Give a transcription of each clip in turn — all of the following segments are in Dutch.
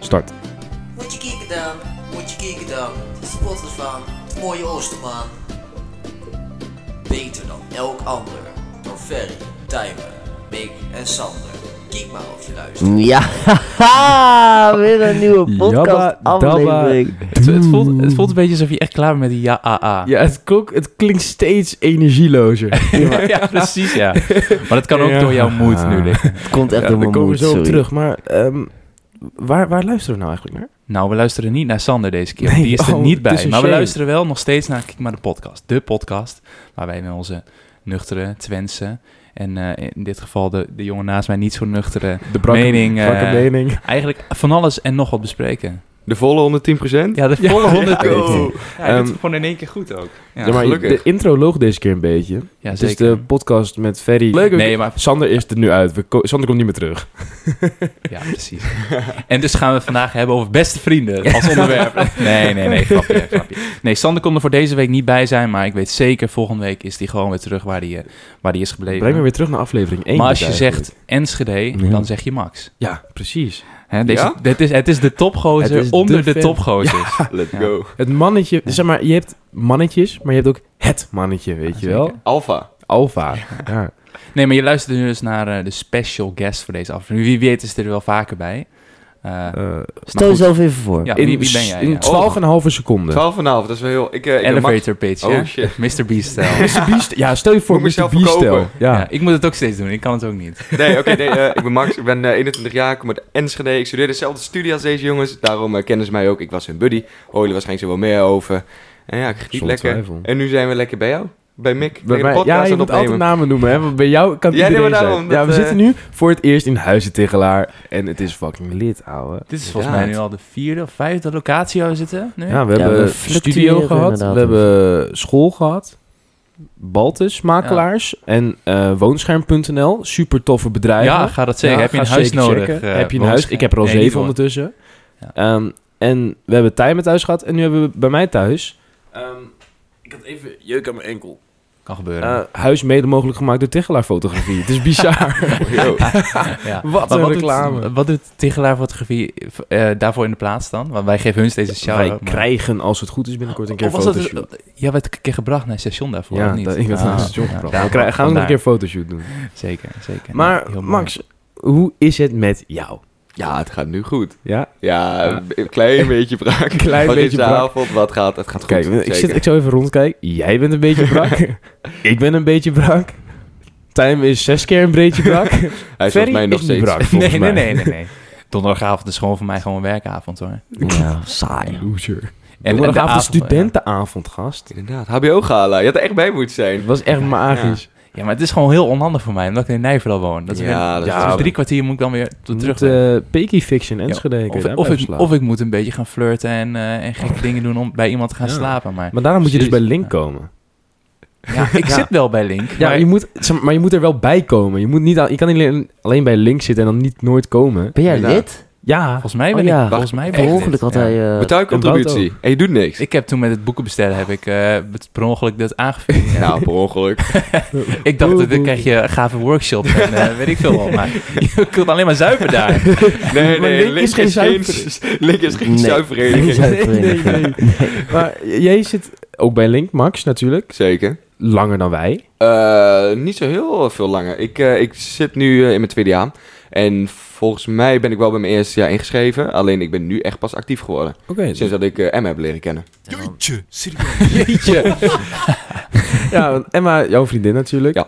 Start. Moet je kijken dan, moet je kijken dan. Spotters van het mooie Oostermaan. Beter dan elk ander. Door Ferry, Tijmen, Mick en Sander. Kijk maar of je luistert. Ja, weer een nieuwe Jabba podcast aflevering. Het, het, voelt, het voelt een beetje alsof je echt klaar bent met die ah, ja-a-a. Ja, het, klonk, het klinkt steeds energielozer. Ja, precies, ja. Maar dat kan ook Ja. door jouw moed nu liggen. Het komt echt Ja, door daar mijn komen we moed, zo op sorry. terug. Maar ehm, waar, waar luisteren we nou eigenlijk naar? Nou, we luisteren niet naar Sander deze keer. Nee, die is er oh, niet het is bij. een Maar we shame. luisteren wel nog steeds naar Kijk maar de podcast. De podcast waar wij met onze nuchtere Twentse... en eh, in dit geval de, de jongen naast mij niet zo nuchtere... De brakke- Mening, eh, brakke mening. eigenlijk van alles en nog wat bespreken. De volle 110%? Ja, de volle 100 ja, euro. oh. Ja, dit Ehm, is gewoon in één keer goed ook. Ja, Ja, maar je- gelukkig. de intro loog deze keer een beetje. Ja, het zeker. is de podcast met Ferry. Nee, maar Sander is er nu uit. We ko- Sander komt niet meer terug. Ja, precies. En dus gaan we het vandaag hebben over beste vrienden als onderwerp. Nee, nee, nee, grapje, grapje. Nee, Sander kon er voor deze week niet bij zijn, maar ik weet zeker, volgende week is hij gewoon weer terug waar hij, eh, waar die is gebleven. Breng me weer terug naar aflevering 1. maar als je zegt Enschede, Ja. dan zeg je Max. Ja, precies. Hè, deze, Ja? dit is, het is de topgozer Het is onder de de, fan. topgozers. Let's Ja. go. Het mannetje... Zeg maar, je hebt mannetjes, maar je hebt ook het mannetje, weet je wel? zeker. Alpha. Alfa. Ja. Nee, maar je luistert nu dus naar eh, de special guest voor deze aflevering. Wie weet is er wel vaker bij. Eh, Eh, Stel goed. jezelf even voor. ja, in wie, wie ben jij? in Ja. Oh. 12,5 seconden. 12,5, dat is wel heel... Ik, eh, ik ben Max. Elevator pitch, Oh, hè? shit. Mr. Beast-stijl. Mr. Beast, ja, stel je voor Moet ik Mr. mezelf Beast stel. verkopen? Ja. Ja, ik moet het ook steeds doen, ik kan het ook niet. Nee, oké, nee, eh, ik ben Max. Ik ben eh, 21 jaar, ik kom uit Enschede. Ik studeer dezelfde studie als deze jongens. Daarom eh, kennen ze mij ook. Ik was hun buddy. Horen jullie waarschijnlijk zo wel meer over. En ja, ik geniet Zonder lekker. twijfel. En nu zijn we lekker bij jou. Bij Mick. Bij Bij de mij- podcast ja, je aan moet het altijd opnemen. namen noemen, hè? want bij jou kan het Ja, nee, iedereen maar daarom, zijn. dat, ja, we eh, zitten nu voor het eerst in Huizen Tegelaar en het is fucking lit, ouwe. Dit is volgens mij nu al de vierde of vijfde locatie waar we zitten nu. Ja, we Ja, hebben we studio fluctueren gehad, we inderdaad. hebben eh, school gehad, Baltus, makelaars en eh, woonscherm.nl, super toffe bedrijven. Ja, ga dat zeggen. Ja, heb je ga een huis zeker nodig? checken. eh, heb je een woons- huis? Ik heb er al Nee, niet zeven hoor. ondertussen. Ja. Ehm, en we hebben Tijmen thuis gehad en nu hebben we bij mij thuis... ehm, ik had even jeuk aan mijn enkel. Kan gebeuren. Eh, huis mede mogelijk gemaakt door Tegelaar Fotografie. Het is bizar. Yo. ja. wat Maar een wat reclame. Doet, wat doet Tigelaar Fotografie eh, daarvoor in de plaats dan? Want wij geven hun steeds een shout-out. Wij maar- krijgen, als het goed is, binnenkort een keer Of was dat- fotoshoot. Jij werd een keer gebracht naar het station daarvoor, Ja, of niet? dat, ik werd aan Ah, het station ja, gebracht. daar- we krijgen, gaan we nog een keer vandaar. fotoshoot doen. Zeker, zeker. maar Ja, heel mooi. Max, hoe is het met jou? Ja, het gaat nu goed. Ja, Ja, een klein beetje brak. Klein Wat is beetje de brak. avond? Wat gaat? Het gaat goed. kijk, ik, zit, zeker. ik zou even rondkijken. Jij bent een beetje brak. ik ben een beetje brak. Time is zes keer een beetje brak. Hij Ferry is volgens mij nog is niet steeds. brak, volgens Nee, nee, mij. nee, nee, nee. Donderdagavond is gewoon voor mij gewoon een werkavond hoor. En- Ja, saai. Loser. En, de Donderdagavond avond, studentenavond, gast. Inderdaad, HBO-gala. Je had er echt bij moeten zijn. Het was echt magisch. Ja. ja, maar het is gewoon heel onhandig voor mij, omdat ik in Nijverdal woon. Dat is weer- ja, dat Dus is Ja, drie kwartier moet ik dan weer Toen terug. de eh, Peaky Fiction Enschede. kun je of, daar of, blijven ik, slapen. Oh. of ik moet een beetje gaan flirten en, eh, en gekke dingen doen om bij iemand te gaan Ja. slapen. Maar Maar daarom moet je dus bij Precies. Link komen. ja, ik zit wel bij Link. Ja, maar maar je, moet, zeg maar, maar je moet er wel bij komen. Je, moet niet, aan- je kan niet alleen, alleen bij Link zitten en dan niet nooit komen. Ben jij Inderdaad. lid? Ja, volgens mij ben Oh, ja. ik... Volgens mij ben Per ik ongeluk dit. had Ja. hij... eh, Betaal je een bout contributie. En je doet niks. Ik heb toen met het boeken bestellen, heb ik eh, het per ongeluk dat aangevuld. Nou, per ongeluk. Ik dacht, dat- dan krijg je een gave workshop en eh, weet ik veel wel. Maar je kunt alleen maar zuipen daar. Nee, Maar nee, Link Link, is is geen geen, Link is geen Nee. zuiverhereniging. zuiververeniging. maar jij zit ook bij Link, Max natuurlijk. Zeker. Langer dan wij. Eh, niet zo heel veel langer. Ik, eh, ik zit nu eh, in mijn tweede jaar. En volgens mij ben ik wel bij mijn eerste jaar ingeschreven. Alleen ik ben nu echt pas actief geworden. Oké. Sinds dat ik eh M heb leren kennen. Jeetje. Ja, want Emma, jouw vriendin natuurlijk. Ja.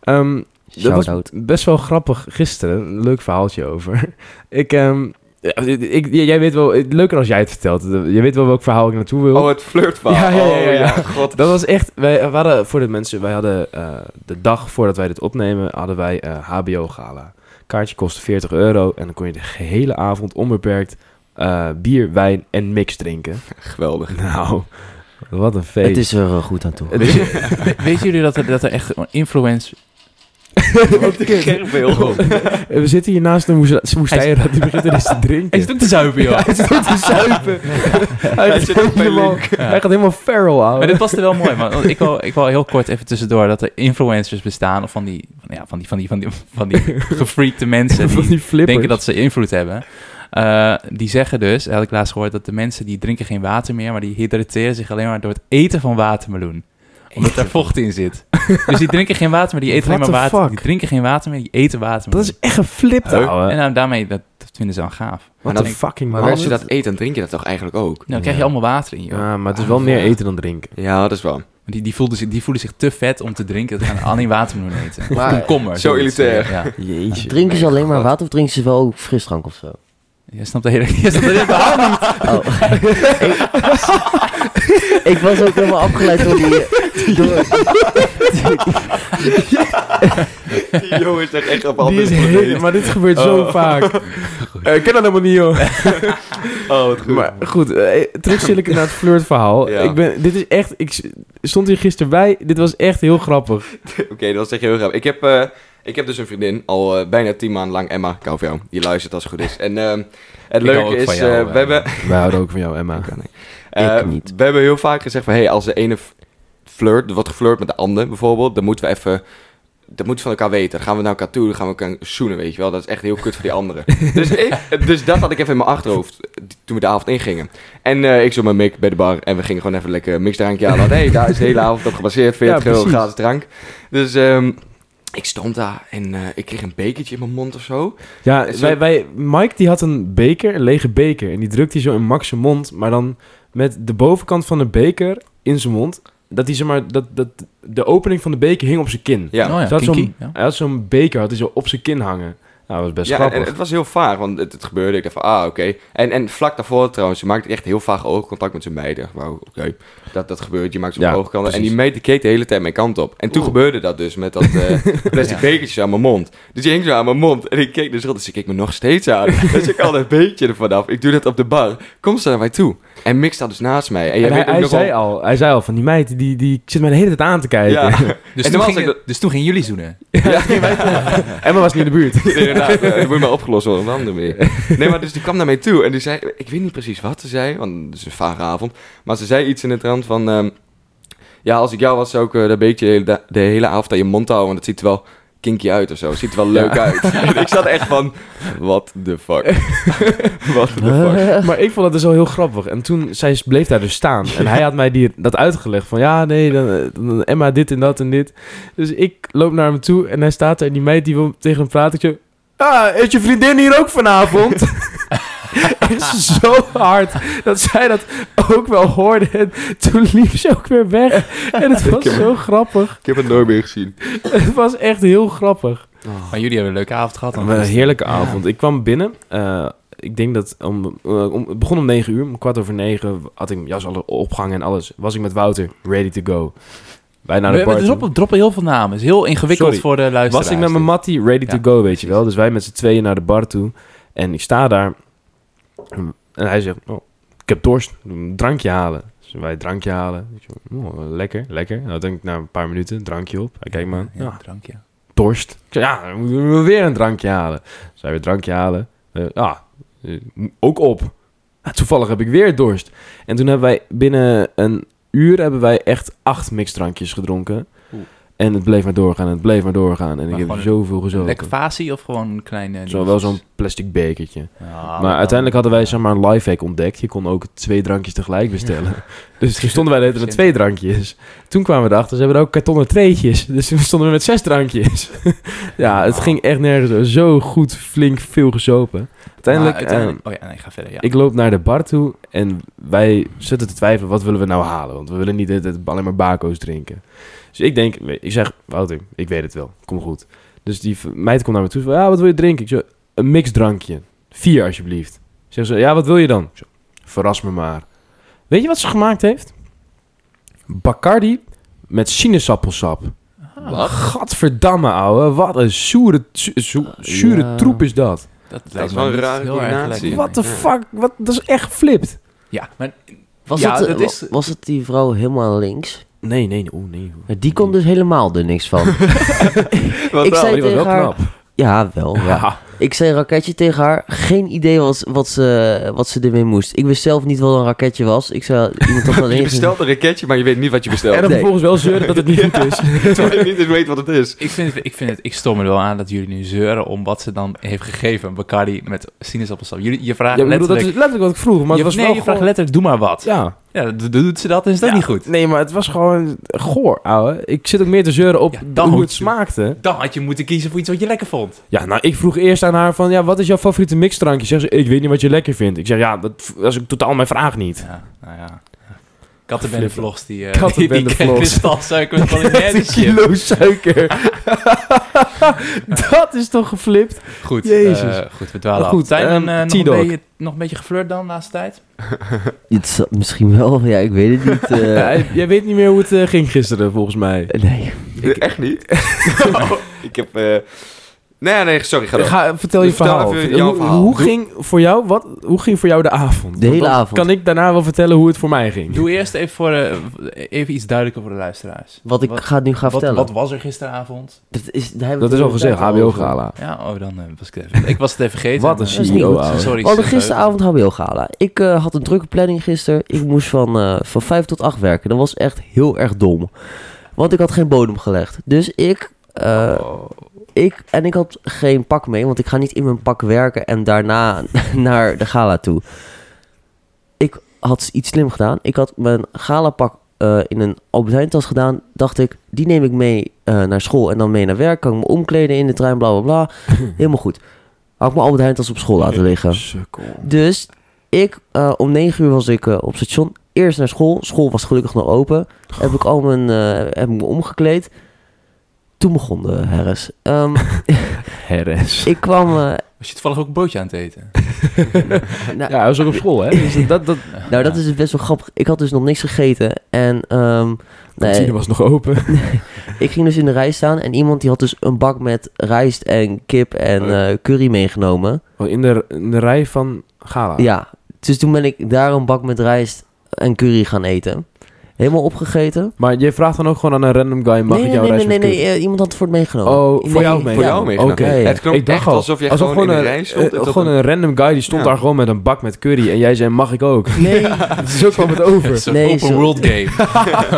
Ehm, dat was Shout-out. best wel grappig gisteren. Een leuk verhaaltje over. Ik, ehm, ja, ik, j- jij weet wel, eh, leuker als jij het vertelt. Je weet wel welk verhaal ik naartoe wil. Oh, het flirtverhaal. Ja, ja, ja, Oh, ja, ja. god. Dat was echt, wij waren voor de mensen, wij hadden eh, de dag voordat wij dit opnemen, hadden wij eh, HBO-gala. Kaartje kostte 40 euro en dan kon je de gehele avond onbeperkt eh, bier, wijn en mix drinken. Geweldig. Nou, wat een feest. Het is er eh, goed aan toe. Het is- We- Weten jullie dat er, dat er echt influence... Gerbil. we zitten hier naast een woest- woestijnrat, die begint er eens te Hij drinken. zit ook te zuipen, joh. Hij zit te zuipen. Hij, Hij is zit ook bij helemaal- Link. hij gaat helemaal feral, ouwe. Maar dit was er wel mooi, man. Want Ik wil, ik wil heel kort even tussendoor dat er influencers bestaan. Of van die, van, ja, van die, van die, van die, van die gefreakte mensen. Van Die die flippers. denken dat ze invloed hebben. Eh, die zeggen dus, had ik laatst gehoord, dat de mensen die drinken geen water meer, maar die hydrateren zich alleen maar door het eten van watermeloen. Omdat daar vocht in zit. dus die drinken geen water meer, die eten alleen What maar the water. fuck? Die drinken geen water meer, die eten watermeloen. Dat is echt geflipt, Huh? ouwe. En nou, daarmee, dat, dat vinden ze dan gaaf. Wat dan een denk- fucking Maar man. als je dat eet, dan drink je dat toch eigenlijk ook? Nou, dan krijg Ja. je allemaal water in je. Ja, maar het is wel meer eten dan drinken. Ja, dat is wel. Die, die, voelden zich, die voelen zich te vet om te drinken. Dat gaan alleen watermeloen eten. Of Maar- komkommer. Zo zoiets. eh, elitair. Ja. Jeetje. Drinken ze Nee, alleen maar God. water of drinken ze wel ook frisdrank of zo? Je snapt de hele... Je snapt de hele verhaal niet. Oh. ik, ik was ook helemaal afgeleid door die... Door, Die jongen is echt, echt op Die andere is planeet. heel, maar dit gebeurt zo vaak. Eh, Ik ken dat helemaal niet, joh. Oh, wat goed. Maar goed, eh, terug zit ik naar het flirtverhaal. Ja. Ik ben, dit is echt, ik s- stond hier gisteren bij. Dit was echt heel grappig. Oké, dat was echt heel grappig. Ik heb, eh, ik heb dus een vriendin, al eh, bijna tien maanden lang, Emma, ik hou van jou. Die luistert als het goed is. En ehm, het Ik hou leuke ook is, van jou, eh, eh. we, hebben, Wij houden ook van jou, Emma. eh, Ik niet. we hebben heel vaak gezegd van... Hé, hey, als de ene f- flirt, er wordt geflirt met de ander bijvoorbeeld... dan moeten we even... Dat moeten we van elkaar weten. Dan gaan we naar elkaar toe, dan gaan we elkaar zoenen, weet je wel. Dat is echt heel kut voor die anderen. dus, ik, dus dat had ik even in mijn achterhoofd eh, toen we de avond ingingen. En eh, ik zat met Mick bij de bar en we gingen gewoon even lekker een mixdrankje halen. Hé, hey, daar is de hele avond op gebaseerd. 40 euro precies. gratis drank. Dus ehm, ik stond daar en eh, ik kreeg een bekertje in mijn mond of zo. Ja, Zo- wij, wij, Mike die had een beker, een lege beker. En die drukte hij zo in Max zijn mond. Maar dan met de bovenkant van de beker in zijn mond. Dat hij, zeg maar, dat, dat de opening van de beker hing op zijn kin. Ja. Oh ja, Zat zo'n- kinky, ja. Hij had zo'n beker, had hij zo op zijn kin hangen. Nou, dat was best ja, en- grappig. en het was heel vaag, want het, het gebeurde. Ik dacht van, ah, oké. En, en vlak daarvoor trouwens, je maakt echt heel vaag oogcontact met zijn meid. Ik dacht, Wauw, oké, dat, dat gebeurt. Je maakt zo'n Ja, oogkanten. En precies. die meid die keek de hele tijd mijn kant op. En toen gebeurde dat dus met dat eh, plastic Ja. bekertje aan mijn mond. Dus die hing zo aan mijn mond. En ik keek dus rond, dus ik keek me nog steeds aan. dus ik had een beetje ervan af. Ik doe dat op de bar. Kom ze naar mij toe. En Mick staat dus naast mij. En, jij En hij, weet ook hij nog zei wel- al, hij zei al van die meid, die, die zit mij de hele tijd aan te kijken. Ja, Dus, En toen toen was gingen, ik dat- dus toen gingen jullie zoenen. Emma was niet in de buurt. inderdaad. eh, Dat moet maar opgelost worden op een andere manier. Nee, maar dus die kwam naar mij toe en die zei... Ik weet niet precies wat ze zei, want het is een vage avond. Maar ze zei iets in de trant van... ehm, ja, als ik jou was, zou ik eh, dat beetje de hele, da- de hele avond aan je mond houden. Want het ziet er wel kinky uit of zo. Het ziet er wel leuk uit. En ik zat echt van... What the fuck? What the fuck? Maar ik vond dat dus al heel grappig. En toen, zij bleef daar dus staan. En hij had mij die, dat uitgelegd. Van ja, nee, dan, eh, dan Emma dit en dat en dit. Dus ik loop naar hem toe en hij staat er. En die meid die wil tegen hem praten. Ik zo, ah, is je vriendin hier ook vanavond? Echt zo hard dat zij dat ook wel hoorde. En toen liep ze ook weer weg. En het was zo grappig. Ik heb het nooit meer gezien. Het was echt heel grappig. Maar jullie hebben een leuke avond gehad. dan. Wat een heerlijke avond. Ik kwam binnen. eh, ik denk dat om, eh, om, het begon om 9 uur. Om kwart over 9 had ik mijn jas al opgehangen en alles. Was ik met Wouter ready to go. Wij naar we de we party. droppen, droppen heel veel namen. Het is heel ingewikkeld Sorry. voor de luisteraars. Was ik met mijn mattie ready Ja, to go, weet je wel. Dus wij met z'n tweeën naar de bar toe. En ik sta daar. En hij zegt, oh, ik heb dorst. Een drankje halen. Dus wij drankje halen. Ik zo, oh, lekker, lekker. Nou, denk ik na een paar minuten, drankje op. Hij kijkt me aan. Ja, Ja, drank, ja. dorst. Ik zei, Ja, dan moeten we weer een drankje halen. Dus hij weer een drankje halen. Eh, ah, eh, ook op. Ah, toevallig heb ik weer dorst. En toen hebben wij binnen een uur hebben wij echt acht mixdrankjes gedronken. Oeh. En het bleef maar doorgaan en het bleef maar doorgaan. En Maar ik heb gewoon zoveel Een gezogen. lekker fasie of gewoon een kleine... Zo, wel zo'n plastic bekertje. Ja, maar dan- uiteindelijk hadden wij zeg maar een lifehack ontdekt. Je kon ook twee drankjes tegelijk bestellen. Dus toen stonden wij de hele tijd met twee drankjes. Toen kwamen we erachter, ze hebben ook kartonnen treetjes. Dus toen stonden we met zes drankjes. ja, het ging echt nergens over. Zo goed, flink, veel gezopen. Uiteindelijk, Maar uiteindelijk- oh ja, nee, ik ga verder. Ja. eh, ik loop naar de bar toe en wij zitten te twijfelen, wat willen we nou halen? Want we willen niet de hele tijd alleen maar bako's drinken. Dus ik denk, ik zeg, Wouter, ik weet het wel, kom goed. Dus die v- meid komt naar me toe, van, ja, wat wil je drinken? Ik zo, een mixdrankje, vier alsjeblieft. Zeg ze, ja, wat wil je dan? Ik zo, verras me maar. Weet je wat ze gemaakt heeft? Bacardi met sinaasappelsap. Gadverdamme, ouwe. Wat een zure, zu- zu- zure Ja. troep is dat. dat is lijkt wel me een niet rare heel erg combinatie. lekker. What the Ja. fuck? Wat, dat is echt geflipt. Ja, maar was, Ja, het, eh, dat is- wa- was het die vrouw helemaal links? Nee, nee, nee. Oeh, nee. Maar Die kon dus helemaal er niks van. Wat Ik zei- dan? Oh, die was tegen wel haar- knap. ja, wel. Ja. Ja. Ik zei een raketje tegen haar. Geen idee wat, wat, ze, wat ze ermee moest. Ik wist zelf niet wat een raketje was. Ik zei, iemand had dat Je ingezien. bestelt een raketje, maar je weet niet wat je En bestelt. dan Nee. vervolgens wel zeuren dat het niet goed is. Terwijl je niet eens weet wat het is. Ik vind, het, ik vind het, ik stoor me er wel aan dat jullie nu zeuren om wat ze dan heeft gegeven. Bacardi met sinaasappelsap. Jullie, je vraagt Ja, ik bedoel, dat is letterlijk... letterlijk wat ik vroeg, maar het je, was nee, wel je gewoon... vraagt letterlijk, doe maar wat. Ja. Ja, do- doet ze dat, dan is dat Ja, niet goed. Nee, maar het was gewoon goor, ouwe. Ik zit ook meer te zeuren op Ja, dan hoe moet het je. smaakte. Dan had je moeten kiezen voor iets wat je lekker vond. Ja, nou, ik vroeg eerst aan haar van, ja, wat is jouw favoriete mixdrankje? Zegt ze, ik weet niet wat je lekker vindt. Ik zeg, ja, dat, dat is totaal mijn vraag niet. Ja, nou ja. Kattenbende vlogs die... eh Kattenbende die vlogs. kristalsuiker met Een mayonaise chip. kilo suiker. dat is toch geflipt? Goed, Jezus. eh, goed, we dwalen Maar goed, af. Tijn, ehm, en, eh, nog, T-Dog. een beetje, nog een beetje geflirt dan, laatste tijd? Het zal- misschien wel. Ja, ik weet het niet. eh. Ja, jij weet niet meer hoe het eh, ging gisteren, volgens mij. nee. Echt niet? ik heb... eh, Nee, nee, sorry, ga door. Ga, vertel je Vertel verhaal. even jouw Hoe- verhaal. Hoe, Doe- ging voor jou, wat, hoe ging voor jou de avond? De hele Want dan avond. Kan ik daarna wel vertellen hoe het voor mij ging? Doe eerst even, voor, eh, even iets duidelijker voor de luisteraars. Wat ik Wat- ga nu gaan Wat, vertellen. wat was er gisteravond? dat is, daar hebben we Dat is het al gezegd, inderdaad al over. HBO-gala. Ja, oh, dan eh, was ik het even... Ik was het even vergeten. Wat een Eh, Dat is niet CEO, goed. ouwe. Sorry. We hadden Steve. Oh, gisteravond HBO-gala. Ik eh, had een drukke planning gisteren. Ik moest van, eh, van 5 tot 8 werken. Dat was echt heel erg dom. Want ik had geen bodem gelegd. Dus ik... eh, ik en ik had geen pak mee, want ik ga niet in mijn pak werken en daarna naar de gala toe. Ik had iets slim gedaan. Ik had mijn galapak eh in een Albert Heijn tas gedaan. Dacht ik, die neem ik mee eh, naar school en dan mee naar werk. Kan ik me omkleden in de trein, bla bla bla. Helemaal goed. Had ik mijn Albert Heijn tas op school laten liggen. Dus ik, eh, om 9 uur was ik eh, op station. Eerst naar school. School was gelukkig nog open. Heb ik al mijn, eh, heb ik me omgekleed. Toen begon de herres. Ehm, Herres. ik kwam... eh, Was je toevallig ook een bootje aan het eten? Ja, hij was ook op school, hè? Dus dat, dat, nou, dat is dus best wel grappig. Ik had dus nog niks gegeten. En ehm, nee. nee, was nog open. ik ging dus in de rij staan. En iemand die had dus een bak met rijst en kip en Oh. eh, curry meegenomen. Oh, in, de, in de rij van Gala. Ja, dus toen ben ik daar een bak met rijst en curry gaan eten. Helemaal opgegeten. Maar je vraagt dan ook gewoon aan een random guy, mag nee, ik jouw nee, rijst nee, of nee, kip? nee, eh, iemand had het voor het meegenomen. Oh, voor Nee, jou mee. Voor ja. jou meegenomen. Oké. Ja, ja. Het klonk Ik dacht echt al. alsof jij Alsof gewoon, in een rij stond. eh, en dat gewoon een- een random guy die stond Ja. daar gewoon met een bak met curry. En jij zei, mag ik ook? Nee, Zo kwam het over. Zo'n Nee, open zo- world game.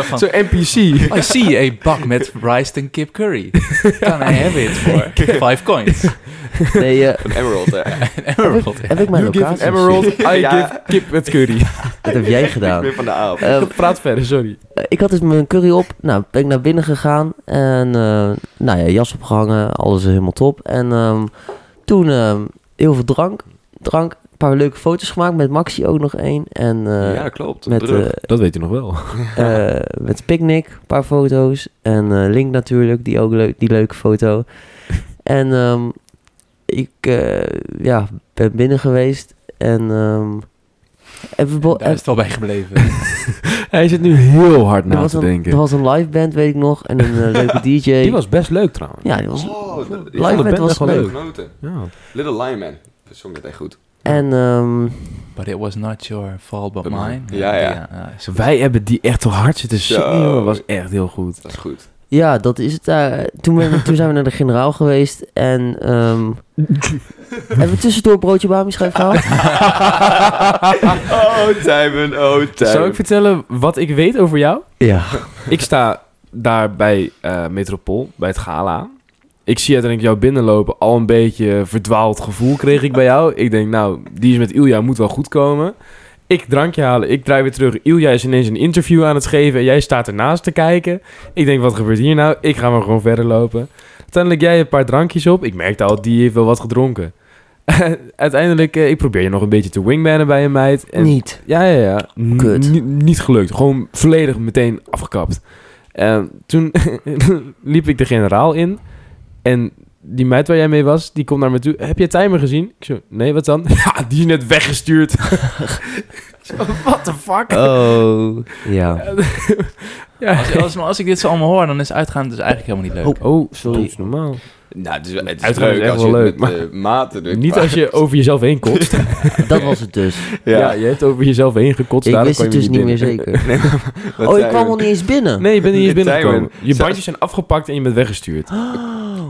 Van, Zo NPC. I see a bak met rice and kip curry. Can I have it for five coins? nee eh, Een emerald, hè. An emerald. heb ik mijn You give an locatie. emerald, I Ja. give kip met curry. Dat heb jij Ik gedaan. ben van de aap. Ehm, Praat verder, sorry. ik had dus mijn curry op. Nou, ben ik naar binnen gegaan. En, eh, nou ja, jas opgehangen. Alles helemaal top. En ehm, toen ehm, heel veel drank. Drank. Een paar leuke foto's gemaakt. Met Maxi ook nog één. En eh, ja, dat klopt. met, Druk. eh, Dat weet u nog wel. eh, met Picnic, een paar foto's. En eh, Link natuurlijk, die ook leuk, die leuke foto. En ehm, ik eh, ja, ben binnen geweest en ehm, even bo- Daar is het wel bij gebleven. Hij zit nu heel hard er, na was te een, denken. er was een live band, weet ik nog, en een eh, leuke DJ. Die was best leuk trouwens. ja, die was oh, dat- ik live vond band band was echt wel leuk. leuk. het genoten. Ja. Little Lyman. Dat zong het echt goed. En ehm, But it was not your fault, but But mine. mine. Ja, ja. is- Wij hebben die echt toch hard zitten Zo. zingen, jongen. was echt heel goed. Dat is goed. ja, dat is het. eh, toen, ben- toen zijn we naar de generaal geweest en ehm hebben we tussendoor broodje Bami schijf gehaald. oh, Tijmen. Oh, Zou ik Tijmen. vertellen wat ik weet over jou? Ja. Ik sta daar bij eh Metropool, bij het gala. Ik zie uiteindelijk jou binnenlopen. Al een beetje verdwaald gevoel kreeg ik bij jou. Ik denk, nou, die is met Ilja, moet wel goed komen. Ik drankje halen, ik draai weer terug. Ilja is ineens een interview aan het geven en jij staat ernaast te kijken. Ik denk, wat gebeurt hier nou? Ik ga maar gewoon verder lopen. Uiteindelijk jij een paar drankjes op. Ik merkte al, die heeft wel wat gedronken. uiteindelijk, eh, ik probeer je nog een beetje te wingmannen bij een meid. En Niet. ja, ja, ja. N- Kut. ni- niet gelukt. Gewoon volledig meteen afgekapt. En toen liep ik de generaal in. En die meid waar jij mee was, die komt naar me toe. Heb je timer gezien? Ik zo, nee, wat dan? Ja, die is net weggestuurd. Ik zo, What the fuck? Oh. Ja. Ja. Als, als, als ik dit zo allemaal hoor, dan is uitgaan dus eigenlijk helemaal niet leuk. Oh, sorry. Dat is normaal. Nou, het is, het is Uitgaan is leuk echt als wel je leuk, het met eh, mate doet. Niet maar- als je over jezelf heen kotst. ja. Dat was het dus. Ja. je hebt over jezelf heen gekotst. ik daarom wist het kwam je dus niet meer binnen. zeker. Nee, maar- wat Oh, ik Tijmen? kwam al niet eens binnen. Nee, je bent niet eens Timer. binnengekomen. Je Zelfs- bandjes zijn afgepakt en je bent weggestuurd.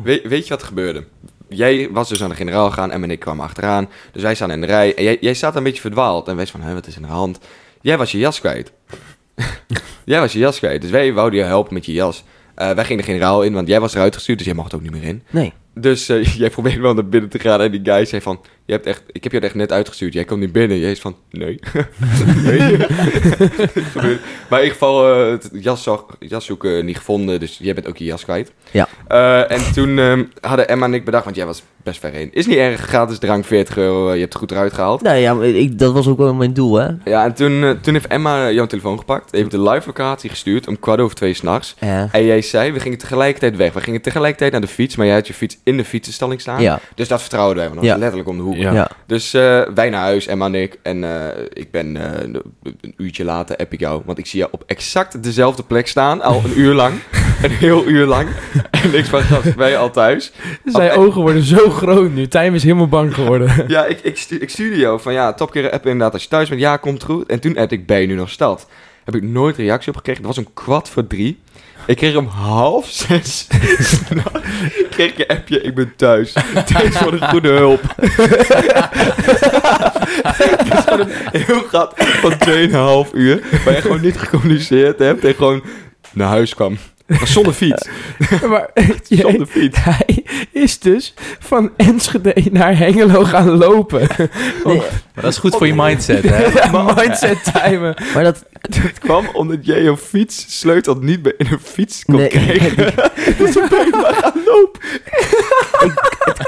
Weet, weet je wat er gebeurde? jij was dus aan de generaal gaan en ik kwam achteraan. Dus wij staan in de rij. En jij, jij staat een beetje verdwaald. En wij zijn van, hè, wat is er aan de hand? Jij was je jas kwijt. jij was je jas kwijt. Dus wij wouden je helpen met je jas. Eh, wij gingen de generaal in, want jij was eruit gestuurd, dus jij mocht ook niet meer in. Nee. Dus eh, jij probeert wel naar binnen te gaan en die guy zei van... Je hebt echt, ik heb je echt net uitgestuurd, jij komt niet binnen. Jij is van, nee. nee. maar in ieder geval, eh, het jas, zag, jas zoeken niet gevonden, dus jij bent ook je jas kwijt. Ja. Eh, en toen ehm, hadden Emma en ik bedacht, want jij was best ver heen. Is niet erg, gratis drank, 40 euro, eh, je hebt het goed eruit gehaald. Nou ja, maar ik, dat was ook wel mijn doel, hè? Ja, en toen, eh, toen heeft Emma jouw telefoon gepakt, heeft de live locatie gestuurd om kwart over twee s'nachts. Ja. En jij zei, we gingen tegelijkertijd weg. We gingen tegelijkertijd naar de fiets, maar jij had je fiets in de fietsenstalling staan. Ja. Dus dat vertrouwden wij, want dat was Ja. letterlijk om de hoek. Ja. Oh, Ja. Dus eh, wij naar huis, Emma en ik. En eh, ik ben eh, een uurtje later app ik jou. Want ik zie jou op exact dezelfde plek staan, al een uur lang. een heel uur lang. en ik van, gast, ben je al thuis? Oh, Zijn ogen worden zo groot nu. Tijm is helemaal bang geworden. Ja, ik, ik, stu ik stuurde jou van, ja, topkeer app inderdaad als je thuis bent. Ja, komt goed. En toen app ik, ben je nu nog stad? Heb ik nooit reactie op gekregen. Dat was om kwart voor drie. Ik kreeg om half zes. 's nachts kreeg ik een appje, ik ben thuis. Thanks voor de goede hulp. Het is gewoon een heel gat van 2,5 uur. Waar je gewoon niet gecommuniceerd hebt en gewoon naar huis kwam. Maar zonder fiets. maar Zonder fiets. hij is dus van Enschede naar Hengelo gaan lopen. Maar dat is goed voor Oh. je mindset, hè? Mindset timen. Maar dat... Het kwam omdat jij jouw fiets sleutel niet bij in een fiets kon Nee. krijgen. dus toen ben ik maar gaan lopen.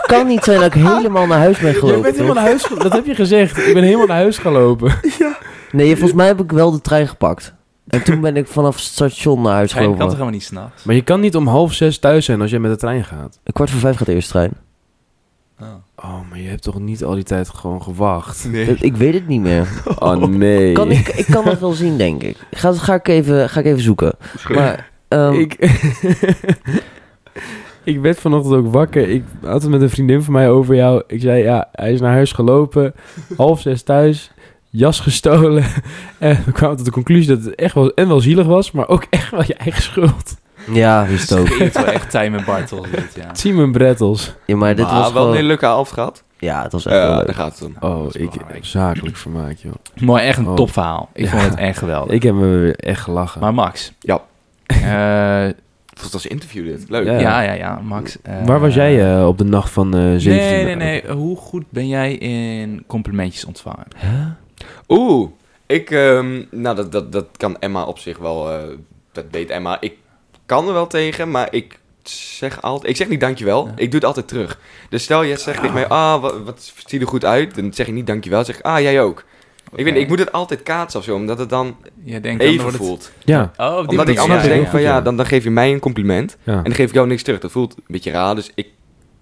kan niet zijn dat ik helemaal naar huis ben Je gelopen. bent helemaal toch? naar huis ge- Dat heb je gezegd. Ik ben helemaal naar huis gaan lopen. Nee, volgens mij heb ik wel de trein gepakt. En toen ben ik vanaf het station naar huis Hij kan toch gelopen. helemaal niet s'nachts? Maar je kan niet om half zes thuis zijn als jij met de trein gaat. Kwart voor vijf gaat de eerste trein. Oh. Oh, maar je hebt toch niet al die tijd gewoon gewacht? Nee. Ik- Ik weet het niet meer. Oh, nee. Kan ik, ik kan dat wel zien, denk ik. Ga, ga, ik, even, ga ik even zoeken. Maar, ehm, Ik, ik werd vanochtend ook wakker. Ik had het met een vriendin van mij over jou. Ik zei, ja, hij is naar huis gelopen. Half zes thuis. Jas gestolen. En we kwamen tot de conclusie dat het echt wel, en wel zielig was, maar ook echt wel je eigen schuld. ja, is het ook. Het wel echt Time en Bartels, dit, ja. Simon Brettels. Ja, maar dit maar was wel gewoon... een hele leuke avond gehad. Ja, het was echt wel Ja, leuk. daar gaat het om. Oh, dat is ik belangrijk. zakelijk vermaak, joh. Mooi, echt een Oh. topverhaal. Ik Ja. vond het echt geweldig. Ik heb me weer echt gelachen. Maar Max. Ja. eh, Het was een interview dit. Leuk. Ja. ja, ja, ja, Max. eh, Waar was jij eh, op de nacht van eh 17? Nee, nee, nee. Hoe goed ben jij in complimentjes ontvangen? Oeh. Ik, ehm, nou, dat, dat, dat kan Emma op zich wel. eh, dat weet Emma. Ik kan er wel tegen, maar ik zeg altijd. Ik zeg niet dankjewel. Ja. Ik doe het altijd terug. Dus stel, jij zegt tegen mij: Ah, wat, wat zie je er goed uit? Dan zeg ik niet dankjewel. Dan zeg ik: Ah, jij ook. Ik weet niet, ik moet het altijd kaatsen of zo, omdat het dan Jij denkt dan even wordt het- voelt. Ja, Oh, op die Omdat ik manier. anders Ja, denk ja. van Ja. ja, dan, dan geef je mij een compliment ja. en dan geef ik jou niks terug. Dat voelt een beetje raar, dus ik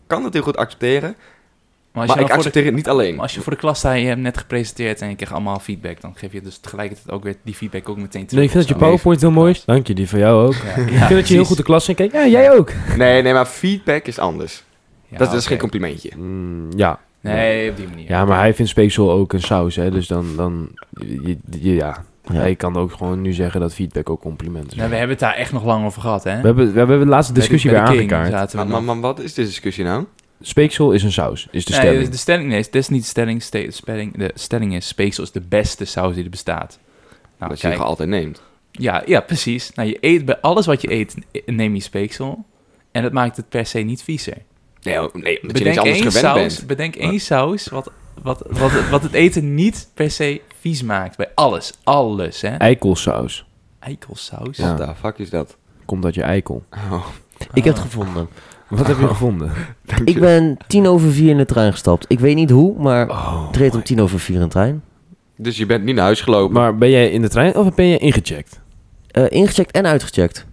kan het heel goed accepteren, Maar, als je maar nou ik voor de- accepteer het niet alleen. maar als je voor de klas staat en je hebt net gepresenteerd en je krijgt allemaal feedback, dan geef je dus tegelijkertijd ook weer die feedback ook meteen terug. Nee, ik vind dat je of zo. PowerPoint heel mooi is. Dank je, die van jou ook. Ja, ik ja, vind dat je heel precies. goed de klas in kijkt. Ja, jij ook. Nee, nee, maar feedback is anders. Ja, dat, dat is dus oké. geen complimentje. Mm, ja. Nee, op die manier. Ja, maar hij vindt speeksel ook een saus, hè? Dus dan, dan je- je- ja. Ja. Hij kan ook gewoon nu zeggen dat feedback ook complimenten Nou, zijn. we hebben het daar echt nog lang over gehad, hè? we, hebben, we hebben de laatste Bij discussie de- weer bij de King aangekaart. zaten we Maar, nog. maar, maar wat is de discussie nou? Speeksel is een saus, is de Nee, stelling. de stelling nee, dat is niet de stelling. Ste- spelling- de stelling is: speeksel is de beste saus die er bestaat. Nou, dat je kijk. nog altijd neemt. Ja, ja, precies. Nou, je eet, bij alles wat je eet, neem je speeksel. En dat maakt het per se niet viezer. Nee, oh, nee omdat bedenk je niks anders één gewend saus, bent. bedenk één saus wat, wat, wat, het- wat het eten niet per se vies maakt. Bij alles, alles, hè. Eikelsaus. Eikelsaus. Ja. What the fuck is dat? Komt uit je eikel. Oh, Ik heb het gevonden. Wat Oh. heb je gevonden? Ik ben tien over vier in de trein gestapt. Ik weet niet hoe, maar het reed om tien over vier in de trein. Dus je bent niet naar huis gelopen. Maar ben jij in de trein of ben je ingecheckt? Eh, ingecheckt en uitgecheckt.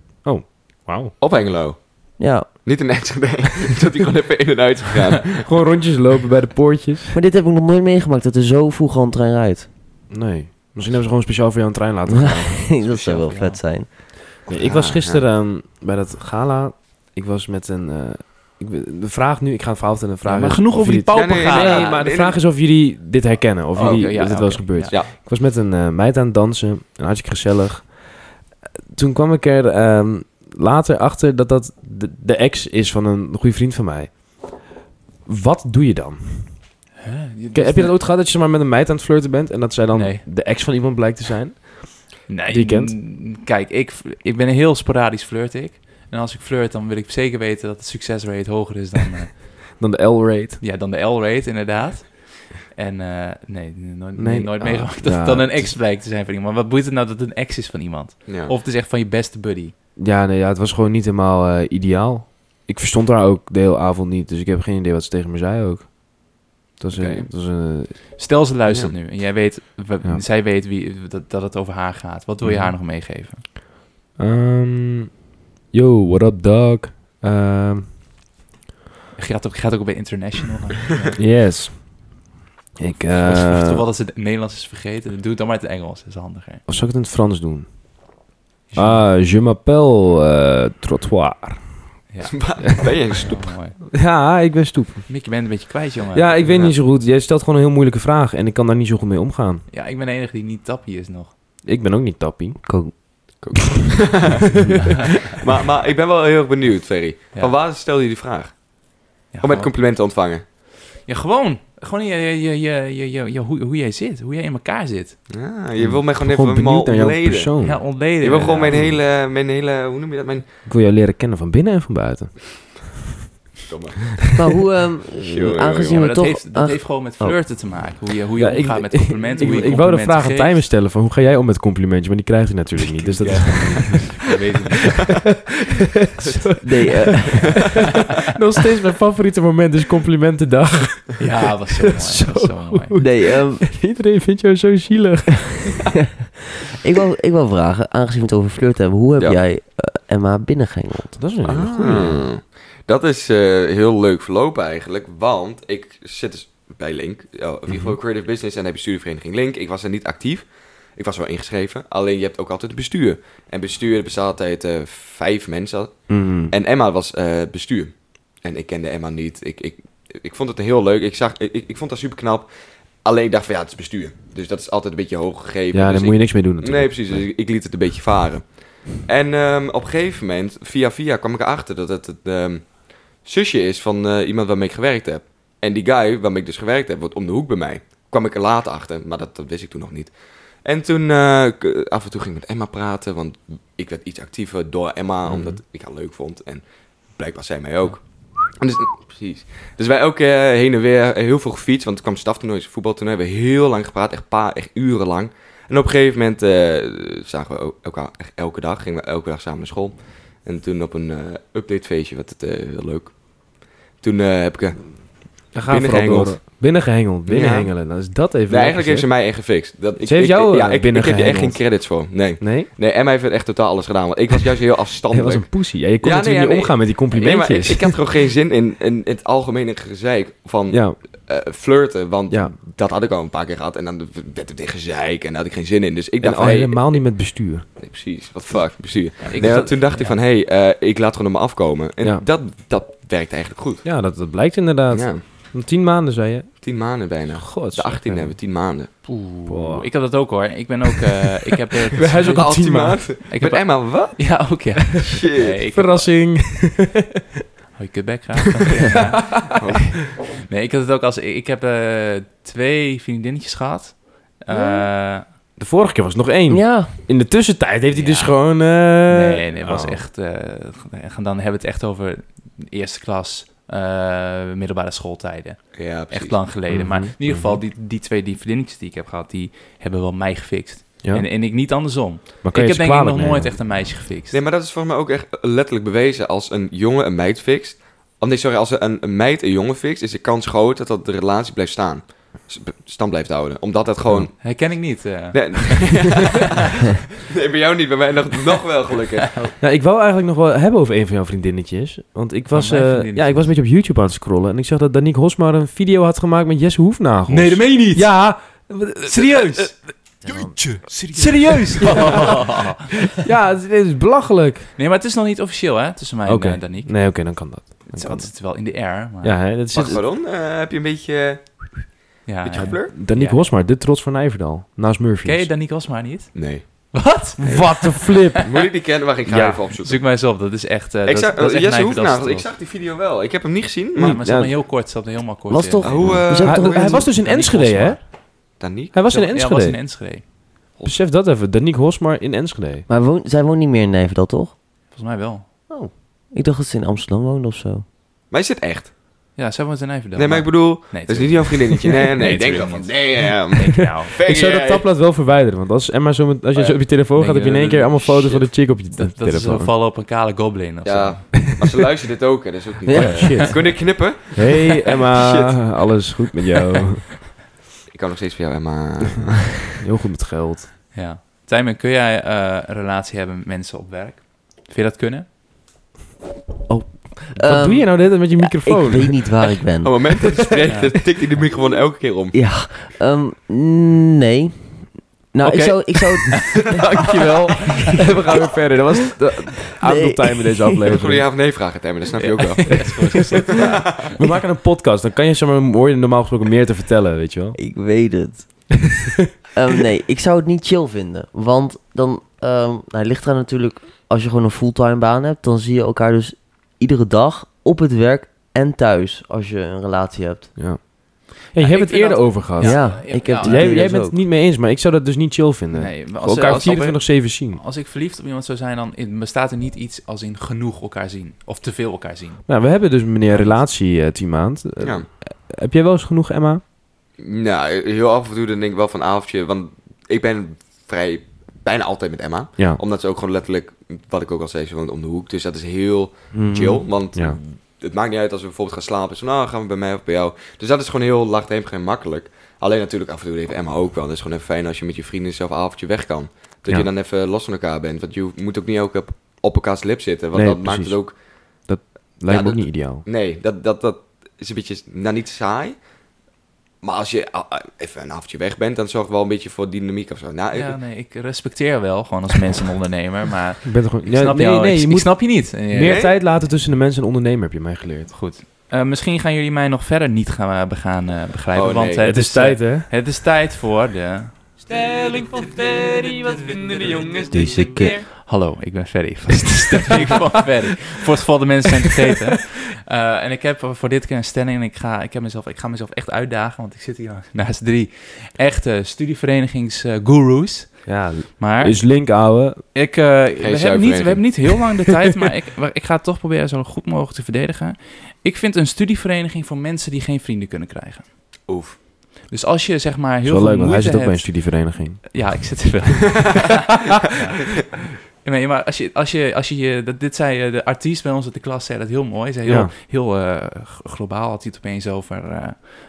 Wauw. Op Engelo. Ja, Niet in Enschede. dat hij gewoon even in en uit is gegaan. Gewoon rondjes lopen bij de poortjes. maar dit heb ik nog nooit meegemaakt, dat er zo vroeg al een trein rijdt. Nee. Misschien hebben ze gewoon speciaal voor jou een trein laten gaan. dat zou wel vet zijn. Nee, ik was gisteren ehm, bij dat gala. Ik was met een... eh, ik, de vraag nu... Ik ga een verhaal vertellen. en de vraag Ja, maar is genoeg of over die jullie- paupergalen. Ja, Nee, maar de nee, vraag is of jullie dit herkennen. Of Oh, jullie oké, of ja, dit ja, wel eens oké, gebeurd. ja. Ik was met een eh, meid aan het dansen. En hartstikke gezellig. Toen kwam ik er ehm, later achter dat dat de, de ex is van een goede vriend van mij. wat doe je dan? K- heb je dat ooit gehad dat je zomaar met een meid aan het flirten bent en dat zij dan Nee. de ex van iemand blijkt te zijn? Nee, Die kent? n- Kijk, ik, ik ben heel sporadisch flirt ik. En als ik flirt, dan wil ik zeker weten dat de succesrate hoger is dan, eh, Dan de L-rate. ja, dan de L-rate, inderdaad. En eh, nee, nooit, Nee. nee, nooit Ah, meegemaakt dat ja, het dan een het- ex blijkt te zijn van iemand. Wat boeit het nou dat het een ex is van iemand? Ja. Of het is echt van je beste buddy. Ja, nee, ja, het was gewoon niet helemaal eh, ideaal. Ik verstond haar ook de hele avond niet, dus ik heb geen idee wat ze tegen me zei ook. Het was, Oké. een, het was een... Stel ze luistert nu en jij weet, we- Ja. zij weet wie, dat, dat het over haar gaat. Wat wil je Mhm. haar nog meegeven? ehm, yo, what up, dog? Ehm, Gaat ook, gaat ook bij international. yes. Ik, Uh, eh Toeval dat ze het Nederlands is vergeten. Doe het dan maar in het Engels, dat is handiger. of zou ik het in het Frans doen? Ah, je m'appelle eh, Trottoir. Ja. ben je een stoep? Ja, mooi. Ja, ik ben stoep. Mick, je bent een beetje kwijt, jongen. Ja, ik weet Ja. niet zo goed. Jij stelt gewoon een heel moeilijke vraag en ik kan daar niet zo goed mee omgaan. Ja, ik ben de enige die niet tappie is nog. Ik ben ook niet tappie. Ko- maar, maar ik ben wel heel erg benieuwd, Ferry. Ja. Van waar stelde je die vraag? Ja, Om met gewoon, complimenten ontvangen. ja, gewoon. Gewoon je, je, je, je, je, je, hoe, hoe jij zit, hoe jij in elkaar zit. Ah, je wil mij gewoon even Gewoon helemaal benieuwd naar jouw ontleden. persoon. Ja, ontleden. Je wil gewoon mijn inderdaad. hele, mijn hele, hoe noem je dat? Mijn... Ik wil jou leren kennen van binnen en van buiten. Maar hoe, ehm, Jongen, Ja, aangezien maar we dat, toch... heeft, dat aange- heeft gewoon met Oh. flirten te maken. Hoe je, hoe je Ja, omgaat met complimenten. Ik, hoe je ik wou de vraag aan Tijmen complimenten stellen van hoe ga jij om met complimentjes, maar die krijgt hij natuurlijk niet. Dus dat is geeft. Ik weet het niet. Nee, eh, nog steeds mijn favoriete moment, dus complimentendag. Ja, dat was zo mooi. Dat was zo mooi. nee ehm, Iedereen vindt jou zo zielig. ik, wil, ik wil vragen, aangezien we het over flirt hebben, hoe heb Ja. jij eh, Emma binnengehengeld? Dat is een hele goeie. Ah, dat is eh, heel leuk verlopen eigenlijk, want ik zit dus bij Link, oh, of in ieder Mhm. geval Creative Business, en heb je studievereniging Link. Ik was er niet actief, ik was wel ingeschreven, alleen je hebt ook altijd bestuur. En bestuur bestaat altijd eh, vijf mensen, Mm. En Emma was eh, bestuur. En ik kende Emma niet. Ik, ik, ik vond het heel leuk. Ik, zag, ik, ik vond haar super knap. Alleen ik dacht van ja, het is bestuur. Dus dat is altijd een beetje hoog gegeven. Ja, daar Dus moet je ik- niks mee doen Nee, natuurlijk. precies. Dus ik, ik liet het een beetje varen. En ehm, op een gegeven moment, via via, kwam ik erachter dat het het ehm, zusje is van eh, iemand waarmee ik gewerkt heb. En die guy waarmee ik dus gewerkt heb, wordt om de hoek bij mij. Kwam ik er later achter, maar dat, dat wist ik toen nog niet. En toen, eh, k- af en toe ging ik met Emma praten, want ik werd iets actiever door Emma, Mhm. omdat ik haar leuk vond. En blijkbaar zij mij ook. En dus, precies. Dus wij ook eh, heen en weer eh, heel veel gefietst, want er kwam staftoernooi, voetbaltoernooi. We hebben heel lang gepraat, echt paar, echt urenlang. En op een gegeven moment eh, zagen we el- elkaar echt elke dag, gingen we elke dag samen naar school. En toen op een eh, updatefeestje werd het eh, heel leuk. Toen eh, heb ik... eh, Dan gaan we vooral Binnengehengeld. door. Binnengehengeld, Ja. binnenhengelen. Dan is dat even nee, eigenlijk leuk heeft ze mij echt gefixt. Dat, Ze heeft jou, eh, ja, ik, ik heb er echt geen binnengehengeld. credits voor. Nee. gezegd. Nee? nee, Emma heeft echt totaal alles gedaan. Want ik was juist heel Dat afstandelijk. was een poesie. Ja, je kon Ja, nee, natuurlijk ja, niet nee. omgaan met die Nee, maar ik, complimentjes. ik had gewoon geen zin in, in het algemene gezeik van Ja, eh, flirten. Want ja. dat had ik al een paar keer gehad. En dan werd het tegen gezeik en daar had ik geen zin in. Dus ik En dacht, al van, hey, oh, helemaal niet met bestuur. nee, precies, wat fuck, precies. Ja, ik Nee, zat- toen dacht ik ja. van, hé, hey, eh, ik laat gewoon op me afkomen. En Ja. dat, dat werkt eigenlijk goed. Ja, dat, dat blijkt inderdaad. Ja, Om tien maanden zei je. eh, tien maanden bijna. God. De 18 hebben we tien maanden. Oeh, Wow. Ik had dat ook hoor. Ik ben ook... eh, ik heb het... Hij is ook al tien maanden. Ik Met heb, Emma, wat? ja, ook ja. Shit. Nee, ik heb- Verrassing. Oh, je kutbek graag. Ja. Nee, ik had het ook als... Ik heb eh, twee vriendinnetjes gehad. Eh, De vorige keer was het nog één. Ja, In de tussentijd heeft hij Ja. dus gewoon... eh, nee, nee, het was oh. echt... eh, en dan hebben we het echt over eerste klas, eh, middelbare schooltijden. Ja, precies. Echt lang geleden. Mhm, Maar in ieder geval, die, die twee die vriendinnetjes die ik heb gehad, die hebben wel mij gefixt. Ja. En, en ik niet andersom. maar kan Ik je heb het denk ik nog kwalijk nemen? nooit echt een meisje gefixt. Nee, maar dat is voor mij ook echt letterlijk bewezen. Als een jongen een meid fixt... Oh nee, sorry. Als een, een meid een jongen fixt, is de kans groot dat, dat de relatie blijft staan. S- b- Stand blijft houden. Omdat dat gewoon... Herken ik niet. eh. Nee, nee, bij jou niet. Bij mij nog, nog wel gelukkig. Nou, ik wou eigenlijk nog wel hebben over een van jouw vriendinnetjes. Want ik was, Van mijn eh, vriendinnetjes. ja, ik was een beetje op YouTube aan het scrollen. En ik zag dat Danique Hosmar een video had gemaakt met Jesse Hoefnagels. Nee, dat meen je niet. Ja, Eh, Eh, Serieus? serieus? eh, ja, dit is belachelijk. nee, maar het is nog niet officieel, hè? Tussen mij Oké. en eh, Danique. Nee, oké, dan kan dat. Het is altijd wel in de air, maar... Ja, hè, dat is Wacht, pardon. eh, heb je een beetje... ja, beetje ja. geblurred? Danique Ja. Hosmar, de trots van Nijverdal. Naast Murphy's. Ken je Danique Hosma niet? Nee. Wat? Wat een flip. Moet ik die kennen? Waar ik ga Ja, even opzoeken. Zoek mij eens op, dat is echt... eh Ik dat, zag, dat is echt Jesse nijverdas Hoefnagels, trots. ik zag die video wel. Ik heb hem niet gezien, Maar maar... het zat Ja. maar heel kort, zat er helemaal kort Was in. toch- Hoe... eh, We zijn Hij, toch- hoe hij heet was dus in Daniek Enschede, hè? Hosmar. Daniek? Hij was in Ja, was in Enschede. Enschede. Besef dat even. Daniek Hosmar in Enschede. Maar woont- zij woont niet meer in Nijverdal, toch? Volgens mij wel. Ik dacht dat ze in Amsterdam woonde of zo. Maar is dit echt? Ja, zij woont in Nijverdal. nee, maar ik bedoel... Nee, Dat is niet jouw vriendinnetje. Nee, nee, Nee, denk dan tuurlijk van... niet. Damn. nou, Ik zou dat tabblad wel verwijderen, want als Emma zo met, als je Oh ja. zo op je telefoon Denk gaat, heb je in je één dat- keer allemaal foto's shit. van een chick op je dat, dat is telefoon. wel vallen op een kale goblin of zo. Ja, maar ze luisteren dit ook, hè. Dat is ook niet... Ja. Ja. Oh, shit. Kun je knippen? Hey Emma, alles goed met jou? Ik kan nog steeds voor jou, Emma. Heel goed met geld. Ja. Tijmen, kun jij eh, een relatie hebben met mensen op werk? Vind je dat kunnen? Ehm, Wat doe je nou net met je microfoon? Ehm, Ik weet niet waar ik ben. Op het moment dat hij spreekt, Ja. dan tikt hij de microfoon elke keer om. Ja, ehm, nee. Nou, ik Oké. zou... Ik zou Dankjewel. We gaan weer verder. Dat was de Nee. out time in deze Dat is voor de aflevering. ja of nee vragen, Tim. Dat snap je ook wel. We maken een podcast. Dan kan je zeg maar mooi normaal gesproken meer te vertellen, weet je wel. Ik weet het. Ehm, nee, ik zou het niet chill vinden. Want dan ehm nou, het ligt er natuurlijk, als je gewoon een fulltime baan hebt, dan zie je elkaar dus iedere dag op het werk en thuis als je een relatie hebt. Ja. je hebt ik het vind eerder dat- over gehad. Ja, Ja, ik ja, heb die Jij, theorie jij dus bent ook. het niet mee eens, maar ik zou dat dus niet chill vinden. Nee, maar als, eh, Elkaar als, Oh. als, 24-7 zien. als ik verliefd op iemand zou zijn, dan in- bestaat er niet iets als in genoeg elkaar zien. Of te veel elkaar zien. Nou, we hebben dus meneer relatie eh team maand. Eh, Ja. Heb jij wel eens genoeg, Emma? Nou, heel af en toe dan denk ik wel van avondje. Want ik ben vrij bijna altijd met Emma. Ja. Omdat ze ook gewoon letterlijk, wat ik ook al zei, ze woont om de hoek. Dus dat is heel chill. Want Hmm. Ja. het maakt niet uit als we bijvoorbeeld gaan slapen. Zo, nou, gaan we bij mij of bij jou. Dus dat is gewoon heel lachtemig en makkelijk. Alleen natuurlijk af en toe even Emma ook wel. Het is gewoon even fijn als je met je vrienden zelf een avondje weg kan. Dat Ja. je dan even los van elkaar bent. Want je moet ook niet ook op, op elkaars lip zitten. Want Nee, dat maakt het precies. ook... Lijkt Ja, me ook dat- niet ideaal. Nee, dat, dat, dat is een beetje, nou niet saai. Maar als je ah, ah, even een avondje weg bent, dan zorgt het wel een beetje voor dynamiek of zo. Nou, Ja, nee, ik respecteer wel gewoon als mens een ondernemer, maar Ik ben er gewoon... ik Ja, snap nee, jou, nee, ik, je ik moet snap je niet. Ja. meer tijd laten tussen de mens en ondernemer, heb je mij geleerd. Goed. Eh, misschien gaan jullie mij nog verder niet gaan eh, begaan, eh, begrijpen, Oh, nee. want eh, Het is tijd, eh, hè? het is tijd voor de... Stelling van Ferry, wat vinden de jongens Deze deze keer? Hallo, ik ben Ferry. van de Stelling van Ferry. Voor het geval de mensen zijn vergeten. Eh, en ik heb voor dit keer een stelling. En ik ga, ik, heb mezelf, ik ga mezelf echt uitdagen. Want ik zit hier naast drie echte studievernedigingsgoeroes. Ja, maar is link, ouwe. ik, eh, we, hebben niet, zuivereniging. we hebben niet heel lang de tijd. Maar ik, maar ik ga het toch proberen zo goed mogelijk te verdedigen. Ik vind een studievereniging voor mensen die geen vrienden kunnen krijgen. Oef. Dus als je zeg maar Is heel wel veel leuk, want hij moeite zit ook bij hebt- een studievereniging. ja, ik zit er wel. ja. Nee, maar als je, als je, als je, je- dat, dit zei eh, de artiest bij ons uit de klas, zei dat heel mooi. Zei heel, Ja. heel eh, g- globaal had hij het opeens over. eh,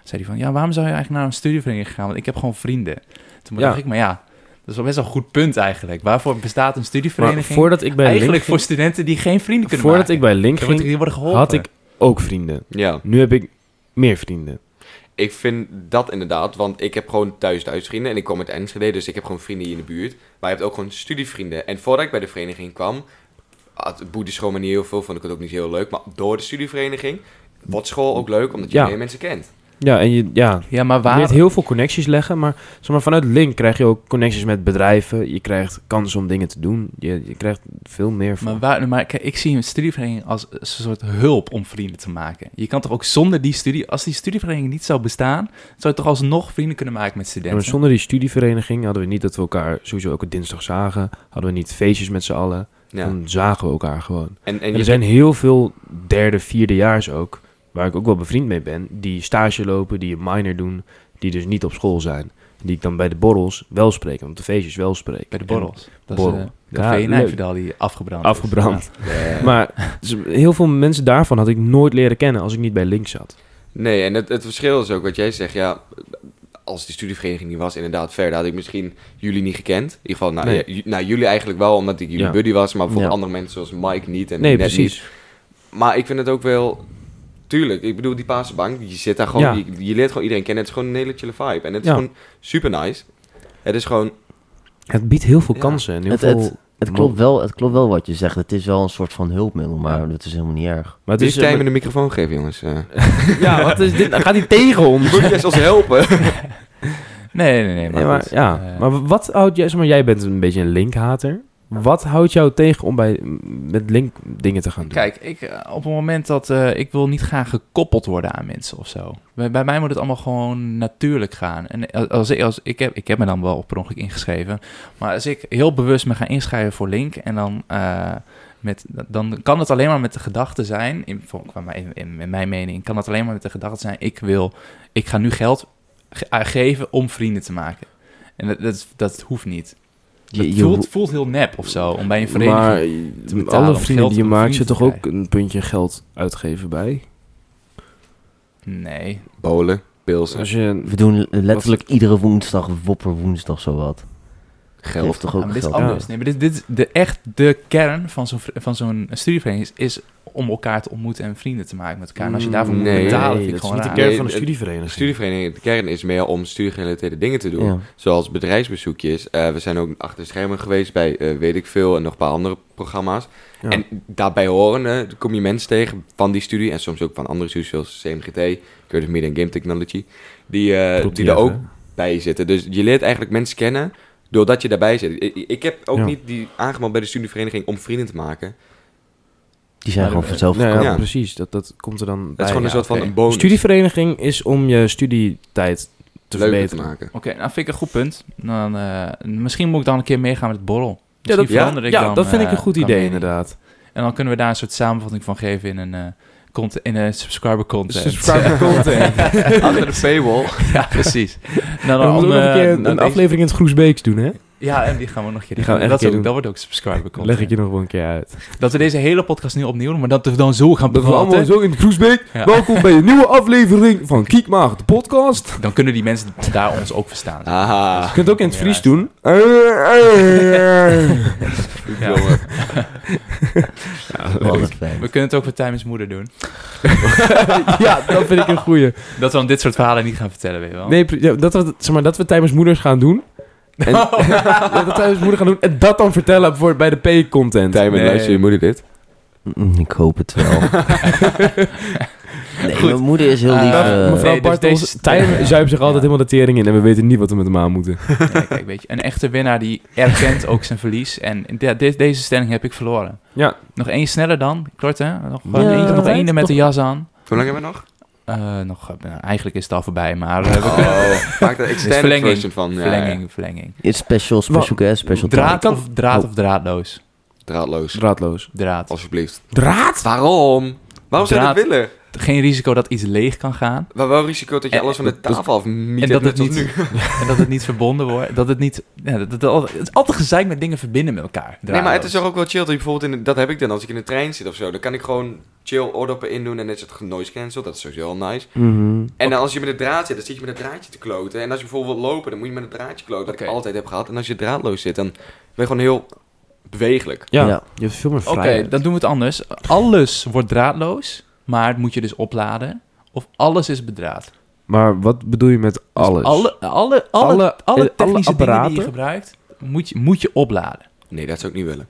zei hij van, ja, waarom zou je eigenlijk naar een studievereniging gaan? Want ik heb gewoon vrienden. Toen Ja. dacht ik, maar ja, dat is wel best wel een goed punt eigenlijk. Waarvoor bestaat een Maar studievereniging? voordat ik bij eigenlijk Link voor studenten die geen vrienden ging, kunnen voordat maken. ik bij Link Dan wordt- ging, die worden geholpen. had ik ook vrienden. Ja, Nu heb ik meer vrienden. ik vind dat inderdaad, want ik heb gewoon thuis thuisvrienden en ik kom uit Enschede, dus ik heb gewoon vrienden hier in de buurt. Maar je hebt ook gewoon studievrienden. En voordat ik bij de vereniging kwam, had boeddhische school me niet heel veel, vond ik het ook niet heel leuk. Maar door de studievereniging wordt school ook leuk, omdat je Ja. meer mensen kent. Ja, en je, ja, Ja, maar je waar... leert heel veel connecties leggen, maar, zeg maar vanuit Link krijg je ook connecties met bedrijven. Je krijgt kansen om dingen te doen. Je, je krijgt veel meer van. Maar, waar, maar kijk, ik zie een studievereniging als een soort hulp om vrienden te maken. Je kan toch ook zonder die studie... Als die studievereniging niet zou bestaan... zou je toch alsnog vrienden kunnen maken met Ja, maar studenten? zonder die studievereniging hadden we niet dat we elkaar sowieso elke dinsdag zagen. Hadden we niet feestjes met z'n allen. Ja. Dan zagen we elkaar gewoon. En, en Mm. En dus- je er zijn heel veel derde, vierdejaars ook, waar ik ook wel bevriend mee ben, die stage lopen, die een minor doen, die dus niet op school zijn. Die ik dan bij de borrels wel spreek, en op de feestjes wel spreek. Bij de En- borrels. Dat borrel. is eh, café Ja, in leuk. Nijverdal die afgebrand is. Afgebrand. Ja. Maar dus heel veel mensen daarvan had ik nooit leren kennen als ik niet bij Link zat. Nee, en het, het verschil is ook wat jij zegt. Ja, als die studievereniging niet was, inderdaad, verder had ik misschien jullie niet gekend. In ieder geval, nou, Nee. ja, ju- nou, jullie eigenlijk wel, omdat ik jullie Ja. buddy was. Maar bijvoorbeeld Ja. andere mensen zoals Mike niet en Nee, net precies. niet. Maar ik vind het ook wel... Tuurlijk, ik bedoel, die Paarse bank, je zit daar gewoon... Ja. Je, je leert gewoon iedereen kennen. Het is gewoon een hele chille vibe. En het is Ja. gewoon super nice. Het is gewoon... Het biedt heel veel Ja. kansen en heel Het- veel... Het klopt, wel, het klopt wel wat je zegt. Het is wel een soort van hulpmiddel, maar dat is helemaal niet erg. maar het Dit is, is Tim in de microfoon geven, jongens. Eh, Ja, wat is dit? Dan gaat hij tegen ons. Je moet juist ons helpen. Nee, nee, nee. Maar Nee, maar, goed. ja. Eh, maar wat houdt jij, zeg maar, jij bent een beetje een linkhater. Wat houdt jou tegen om bij, met link dingen te gaan doen? Kijk, ik, eh, op het moment dat eh, ik wil niet graag gekoppeld worden aan mensen of zo. Bij, bij mij moet het allemaal gewoon natuurlijk gaan. En als, als, ik- als, ik, heb, ik heb me dan wel per ongeluk ingeschreven. Maar als ik heel bewust me ga inschrijven voor Link en dan. eh, met, dan kan het alleen maar met de gedachte zijn, in, voor- qua mijn- in, in mijn mening, kan het alleen maar met de gedachte zijn: ik wil, ik ga nu geld ge- eh, geven om vrienden te maken. En dat, dat, dat hoeft niet. Je- Het je voelt, ho- voelt heel nep of zo, om bij een vereniging maar te betalen alle om vrienden geld die je om maakt, zit vrienden te toch ook krijgen. een puntje geld uitgeven bij? Nee. Bolen, pilsen, Als je, We doen letterlijk iedere woensdag, wopperwoensdag zowat. geld. Geeft toch Ja, ook maar dit is geld? anders. Nee, maar dit, dit is de, echt de kern van zo'n, vri- van zo'n studievereniging is, is om elkaar te ontmoeten en vrienden te maken met elkaar. En als je daarvoor moet Nee, betalen, nee, vind ik dat is gewoon niet de kern raar. Nee, van een het- De studievereniging. studievereniging, de kern is meer om studiegerelateerde dingen te doen. Ja. Zoals bedrijfsbezoekjes. Eh, we zijn ook achter de schermen geweest bij eh, weet ik veel en nog een paar andere programma's. Ja. En daarbij horen eh, kom je mensen tegen van die studie en soms ook van andere studies zoals CMGT, Curtis Media en Game Technology, die, eh, Klopt die niet er echt, ook hè? bij zitten. Dus je leert eigenlijk mensen kennen doordat je daarbij zit. Ik, ik heb ook Ja. niet die aangemeld bij de studievereniging om vrienden te maken. Die zijn Maar gewoon de- vanzelf Nou ja, gekomen. Ja. precies. Dat, dat komt er dan bij. Dat is gewoon ja. een soort van oké. een bonus. Studievereniging is om je studietijd te Leuker verbeteren. te maken. Oké, nou vind ik een goed punt. Dan, eh, misschien moet ik dan een keer meegaan met het borrel. Ja, Misschien dat, ja, verander ik ja, dan, dat vind ik eh, een goed van idee, mening. inderdaad. En dan kunnen we daar een soort samenvatting van geven in een, eh, cont- in een subscriber content. Subscribe content. Achter de paywall. ja, precies. Nou, We moeten ook nog eh, een keer een, nou, deze- aflevering in het Groesbeeks doen, hè? Ja, en die gaan we nog een keer Die gaan we doen. echt dat, een keer ook, dat wordt ook subscriber content. Leg ik je nog wel een keer uit. Dat we deze hele podcast nu opnieuw doen, maar dat we dan zo gaan Dat we allemaal praten. zo in het Groesbeek. Ja. Welkom bij een nieuwe aflevering van Kiekmaag, de podcast. Dan kunnen die mensen daar ons ook verstaan. Ah. Aha. Je kunt het ook in het Ja, Fries ja. doen. Ja. Jongen. Wel dat fijn. We kunnen het ook met Time's moeder doen. ja, dat vind ik een goeie. Dat we dan dit soort verhalen niet gaan vertellen, weet je wel. Nee, pre- ja, dat we, zeg maar, dat we tijdens moeders gaan doen. En, Oh. dat we tijdens moeder gaan doen en dat dan vertellen bijvoorbeeld bij de P-content. Tijmen, Nee. luister je moeder dit? Mm, Ik hoop het wel. nee, mijn moeder is heel Eh, lief. eh, mevrouw- Mevrouw nee, dus Bartels, deze- Tijmen zuipt zich altijd Ja. helemaal de tering in en we weten niet wat we met hem aan moeten. Nee, kijk, weet je. Een echte winnaar die erkent ook zijn verlies. En de- de- deze stelling heb ik verloren. Ja. Nog één sneller dan. Kort, hè? Nog Ja, één nog nog tijd. één met de jas aan. Hoe lang hebben we nog? Eh, nog, eh, nou, eigenlijk is het al voorbij, maar... eh, we kunnen- Oh, maak er extended verlenging. version van. Ja, verlenging, verlenging. It's special, special guest, special Draad kan- of, Oh. draad of draadloos? ja. Draadloos. Draadloos. Draad. Alsjeblieft. Draad? Waarom? Waarom zou je dat Draad. willen? Geen risico dat iets leeg kan gaan. Waar wel risico dat je En- alles van de Eh, dat- tafel af miet en hebt, dat net het als niet, nu. en dat het niet verbonden wordt. Dat het niet... Ja, dat, dat- dat- het is altijd gezeik met dingen verbinden met elkaar. Nee, maar het draadloos. is toch ook wel chill dat je bijvoorbeeld in de- dat heb ik dan als ik in de trein zit of zo. Dan kan ik gewoon chill oordoppen indoen en dan is het ge- noise cancel. Dat is sowieso al nice. Mhm. En dan als je met een draad zit, dan zit je met een draadje te kloten. En als je bijvoorbeeld wilt lopen, dan moet je met een draadje kloten. Dat ik Oké. altijd heb gehad. En als je draadloos zit, dan ben je gewoon heel bewegelijk. Ja, Ja. je hebt veel meer Oké, vrijheid. dan doen we het anders. Alles wordt draadloos, maar het moet je dus opladen. Of alles is bedraad. Dus Maar wat bedoel je met alles? alle, alle, alle, Alle- eh, alle, alle technische dingen die apparaten? je gebruikt, moet je, moet je opladen. Nee, dat zou ik niet willen.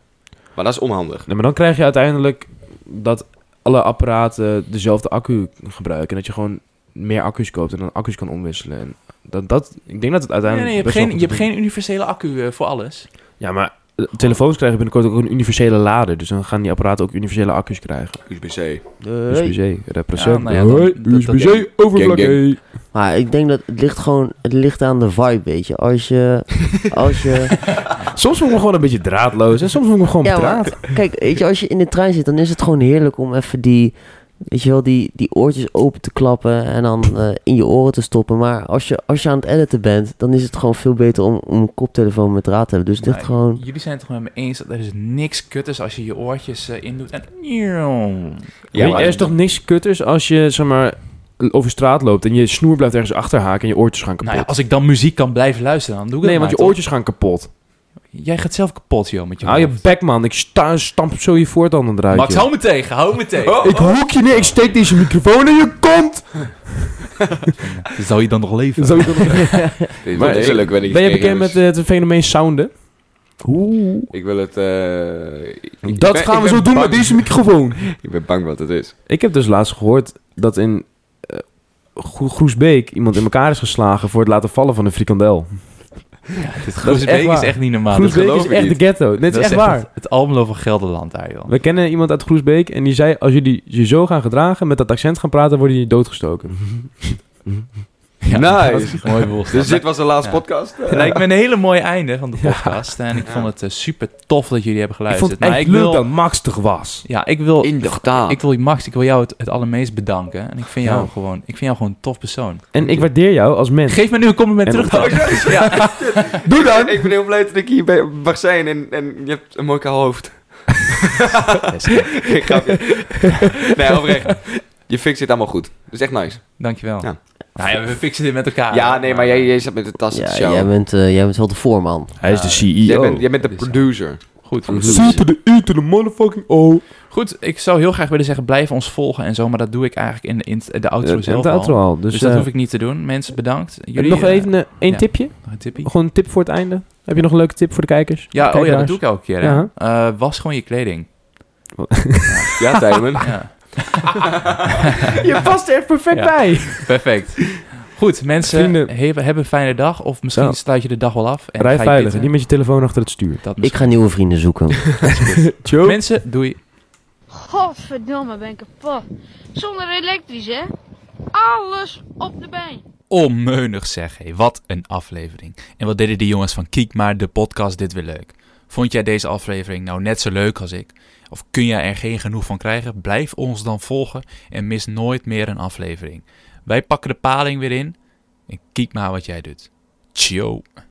Maar dat is onhandig. Nee, maar dan krijg je uiteindelijk dat alle apparaten dezelfde accu gebruiken. En dat je gewoon meer accu's koopt en dan accu's kan omwisselen. En dat, dat, ik denk dat het Nee, nee, uiteindelijk je hebt, best wel geen, goed je hebt te doen- geen universele accu eh, voor alles. Ja, maar eh, telefoons krijgen binnenkort ook een universele lader. Dus dan gaan die apparaten ook universele accu's krijgen. USB-C. Draad. USB-C, represent. Ja, nou ja, dan- Hoi, dat- dat- USB-C, overvlak. Gang, hey. Maar ik denk dat het ligt gewoon, het ligt aan de vibe, weet je. Als je, als je, Soms vond ik hem gewoon een beetje draadloos en soms vond ik hem gewoon ja, draad. maar, kijk, weet je, als je in de trein zit, dan is het gewoon heerlijk om even die, weet je wel, die, die oortjes open te klappen en dan eh, in je oren te stoppen. Maar als je, als je aan het editen bent, dan is het gewoon veel beter om, om een koptelefoon met draad te hebben. Dus het ligt Maar gewoon, Jullie zijn het gewoon met me eens dat er is niks kutters als je je oortjes eh, indoet. En... Nou Ja, Ja, maar- er is toch niks kutters als je zeg maar, over straat loopt en je snoer blijft ergens achterhaken en je oortjes gaan kapot. Nou ja, als ik dan muziek kan blijven luisteren, dan doe ik nee, dat want je maar, oortjes gaan kapot. toch? Jij gaat zelf kapot, joh, met je Hou je hoofd. bek, man. Ik sta, stamp zo je voortanden eruit. Max, joh. Oh. hou me tegen, hou me tegen. Ik hoek je neer, ik steek deze microfoon in je kont! Zou je dan nog leven? Zo, ben Maar ik- eerlijk, ben ik je geen bekend met gamers. eh, het fenomeen sounden? Ik wil het... eh, ik- ik Dat ben- gaan ik we ben zo doen bang. met deze microfoon. Ik ben bang wat het is. Ik heb dus laatst gehoord dat in eh, Gro- Groesbeek iemand in elkaar is geslagen voor het laten vallen van een frikandel. Dit Ah, Dat is echt Groesbeek is waar. echt niet normaal. Dat- Groesbeek geloof is ik echt niet. de ghetto. Dit is, dat echt waar. Het, het Almelo van Gelderland daar, joh. We kennen iemand uit Groesbeek en die zei... als jullie je zo gaan gedragen, met dat accent gaan praten... worden jullie doodgestoken. Nice. dat is een Mooi boel. Dus dit was de laatste Ja. podcast. Oh. eh. Het lijkt me een hele mooie einde van de podcast. En ik vond het eh, super tof dat jullie hebben ik geluisterd. vond het Maar echt ik leuk wil, dat Max er was. Ja, ik wil, Inderdaad. ik wil je, Max, ik wil jou het, het allermeest bedanken. En ik vind jou, Ja. gewoon, ik vind jou gewoon een tof persoon. En ik waardeer jou als mens. Geef me nu een compliment En terug. dan. Doe dan! Ik ben heel blij dat ik hier bij- mag zijn en, en je hebt een mooi kaal hoofd. Ik grapje. Nee, oprecht. Je fixt dit allemaal goed. Dat is echt nice. Dankjewel. Ja. Nou ja, we fixen dit met elkaar. ja, nee, maar jij, jij zat met de tas te Ah, Ja, showen. jij, bent, dus- eh, jij bent wel de voorman. Hij is de E CEO. Jij bent, jij bent de Dit is- producer. eh, Goed. Van de Blues. Super de U to the motherfucking Oh, O. Goed, ik zou heel graag willen zeggen, blijf ons volgen en zo. Maar dat doe ik eigenlijk in, de- in het- de outro En zelf het outro al. al. Dus, Dus, dat eh, hoef ik niet te doen. Mensen, bedankt. Jullie, nog eh, even eh, één ja. tipje. nog een tippie. Gewoon een tip voor het einde. Heb je nog een leuke tip voor de kijkers? Ja, oh ja, dat Kijkeraars? doe ik elke keer. hè. Ja. Eh, was gewoon je kleding. Ja, Tijmen. Ja. Je past er echt perfect Ja. bij. Perfect. Goed, mensen, Vrienden. he- hebben een fijne dag. Of misschien Ja. sluit je de dag wel af. En Rij ga je veilig. pitten. en Niet met je telefoon achter het stuur. Dat Ik misschien. ga nieuwe vrienden zoeken. Ciao. Mensen, doei. Godverdomme, ben ik kapot. Zonder elektrisch, hè? Alles op de been. Onmeunig zeg, hé. Wat een aflevering. En wat deden die jongens van Kiek maar de podcast dit weer leuk. Vond jij deze aflevering nou net zo leuk als ik? Of kun jij er geen genoeg van krijgen? Blijf ons dan volgen en mis nooit meer een aflevering. Wij pakken de paling weer in en kiek maar wat jij doet. Ciao.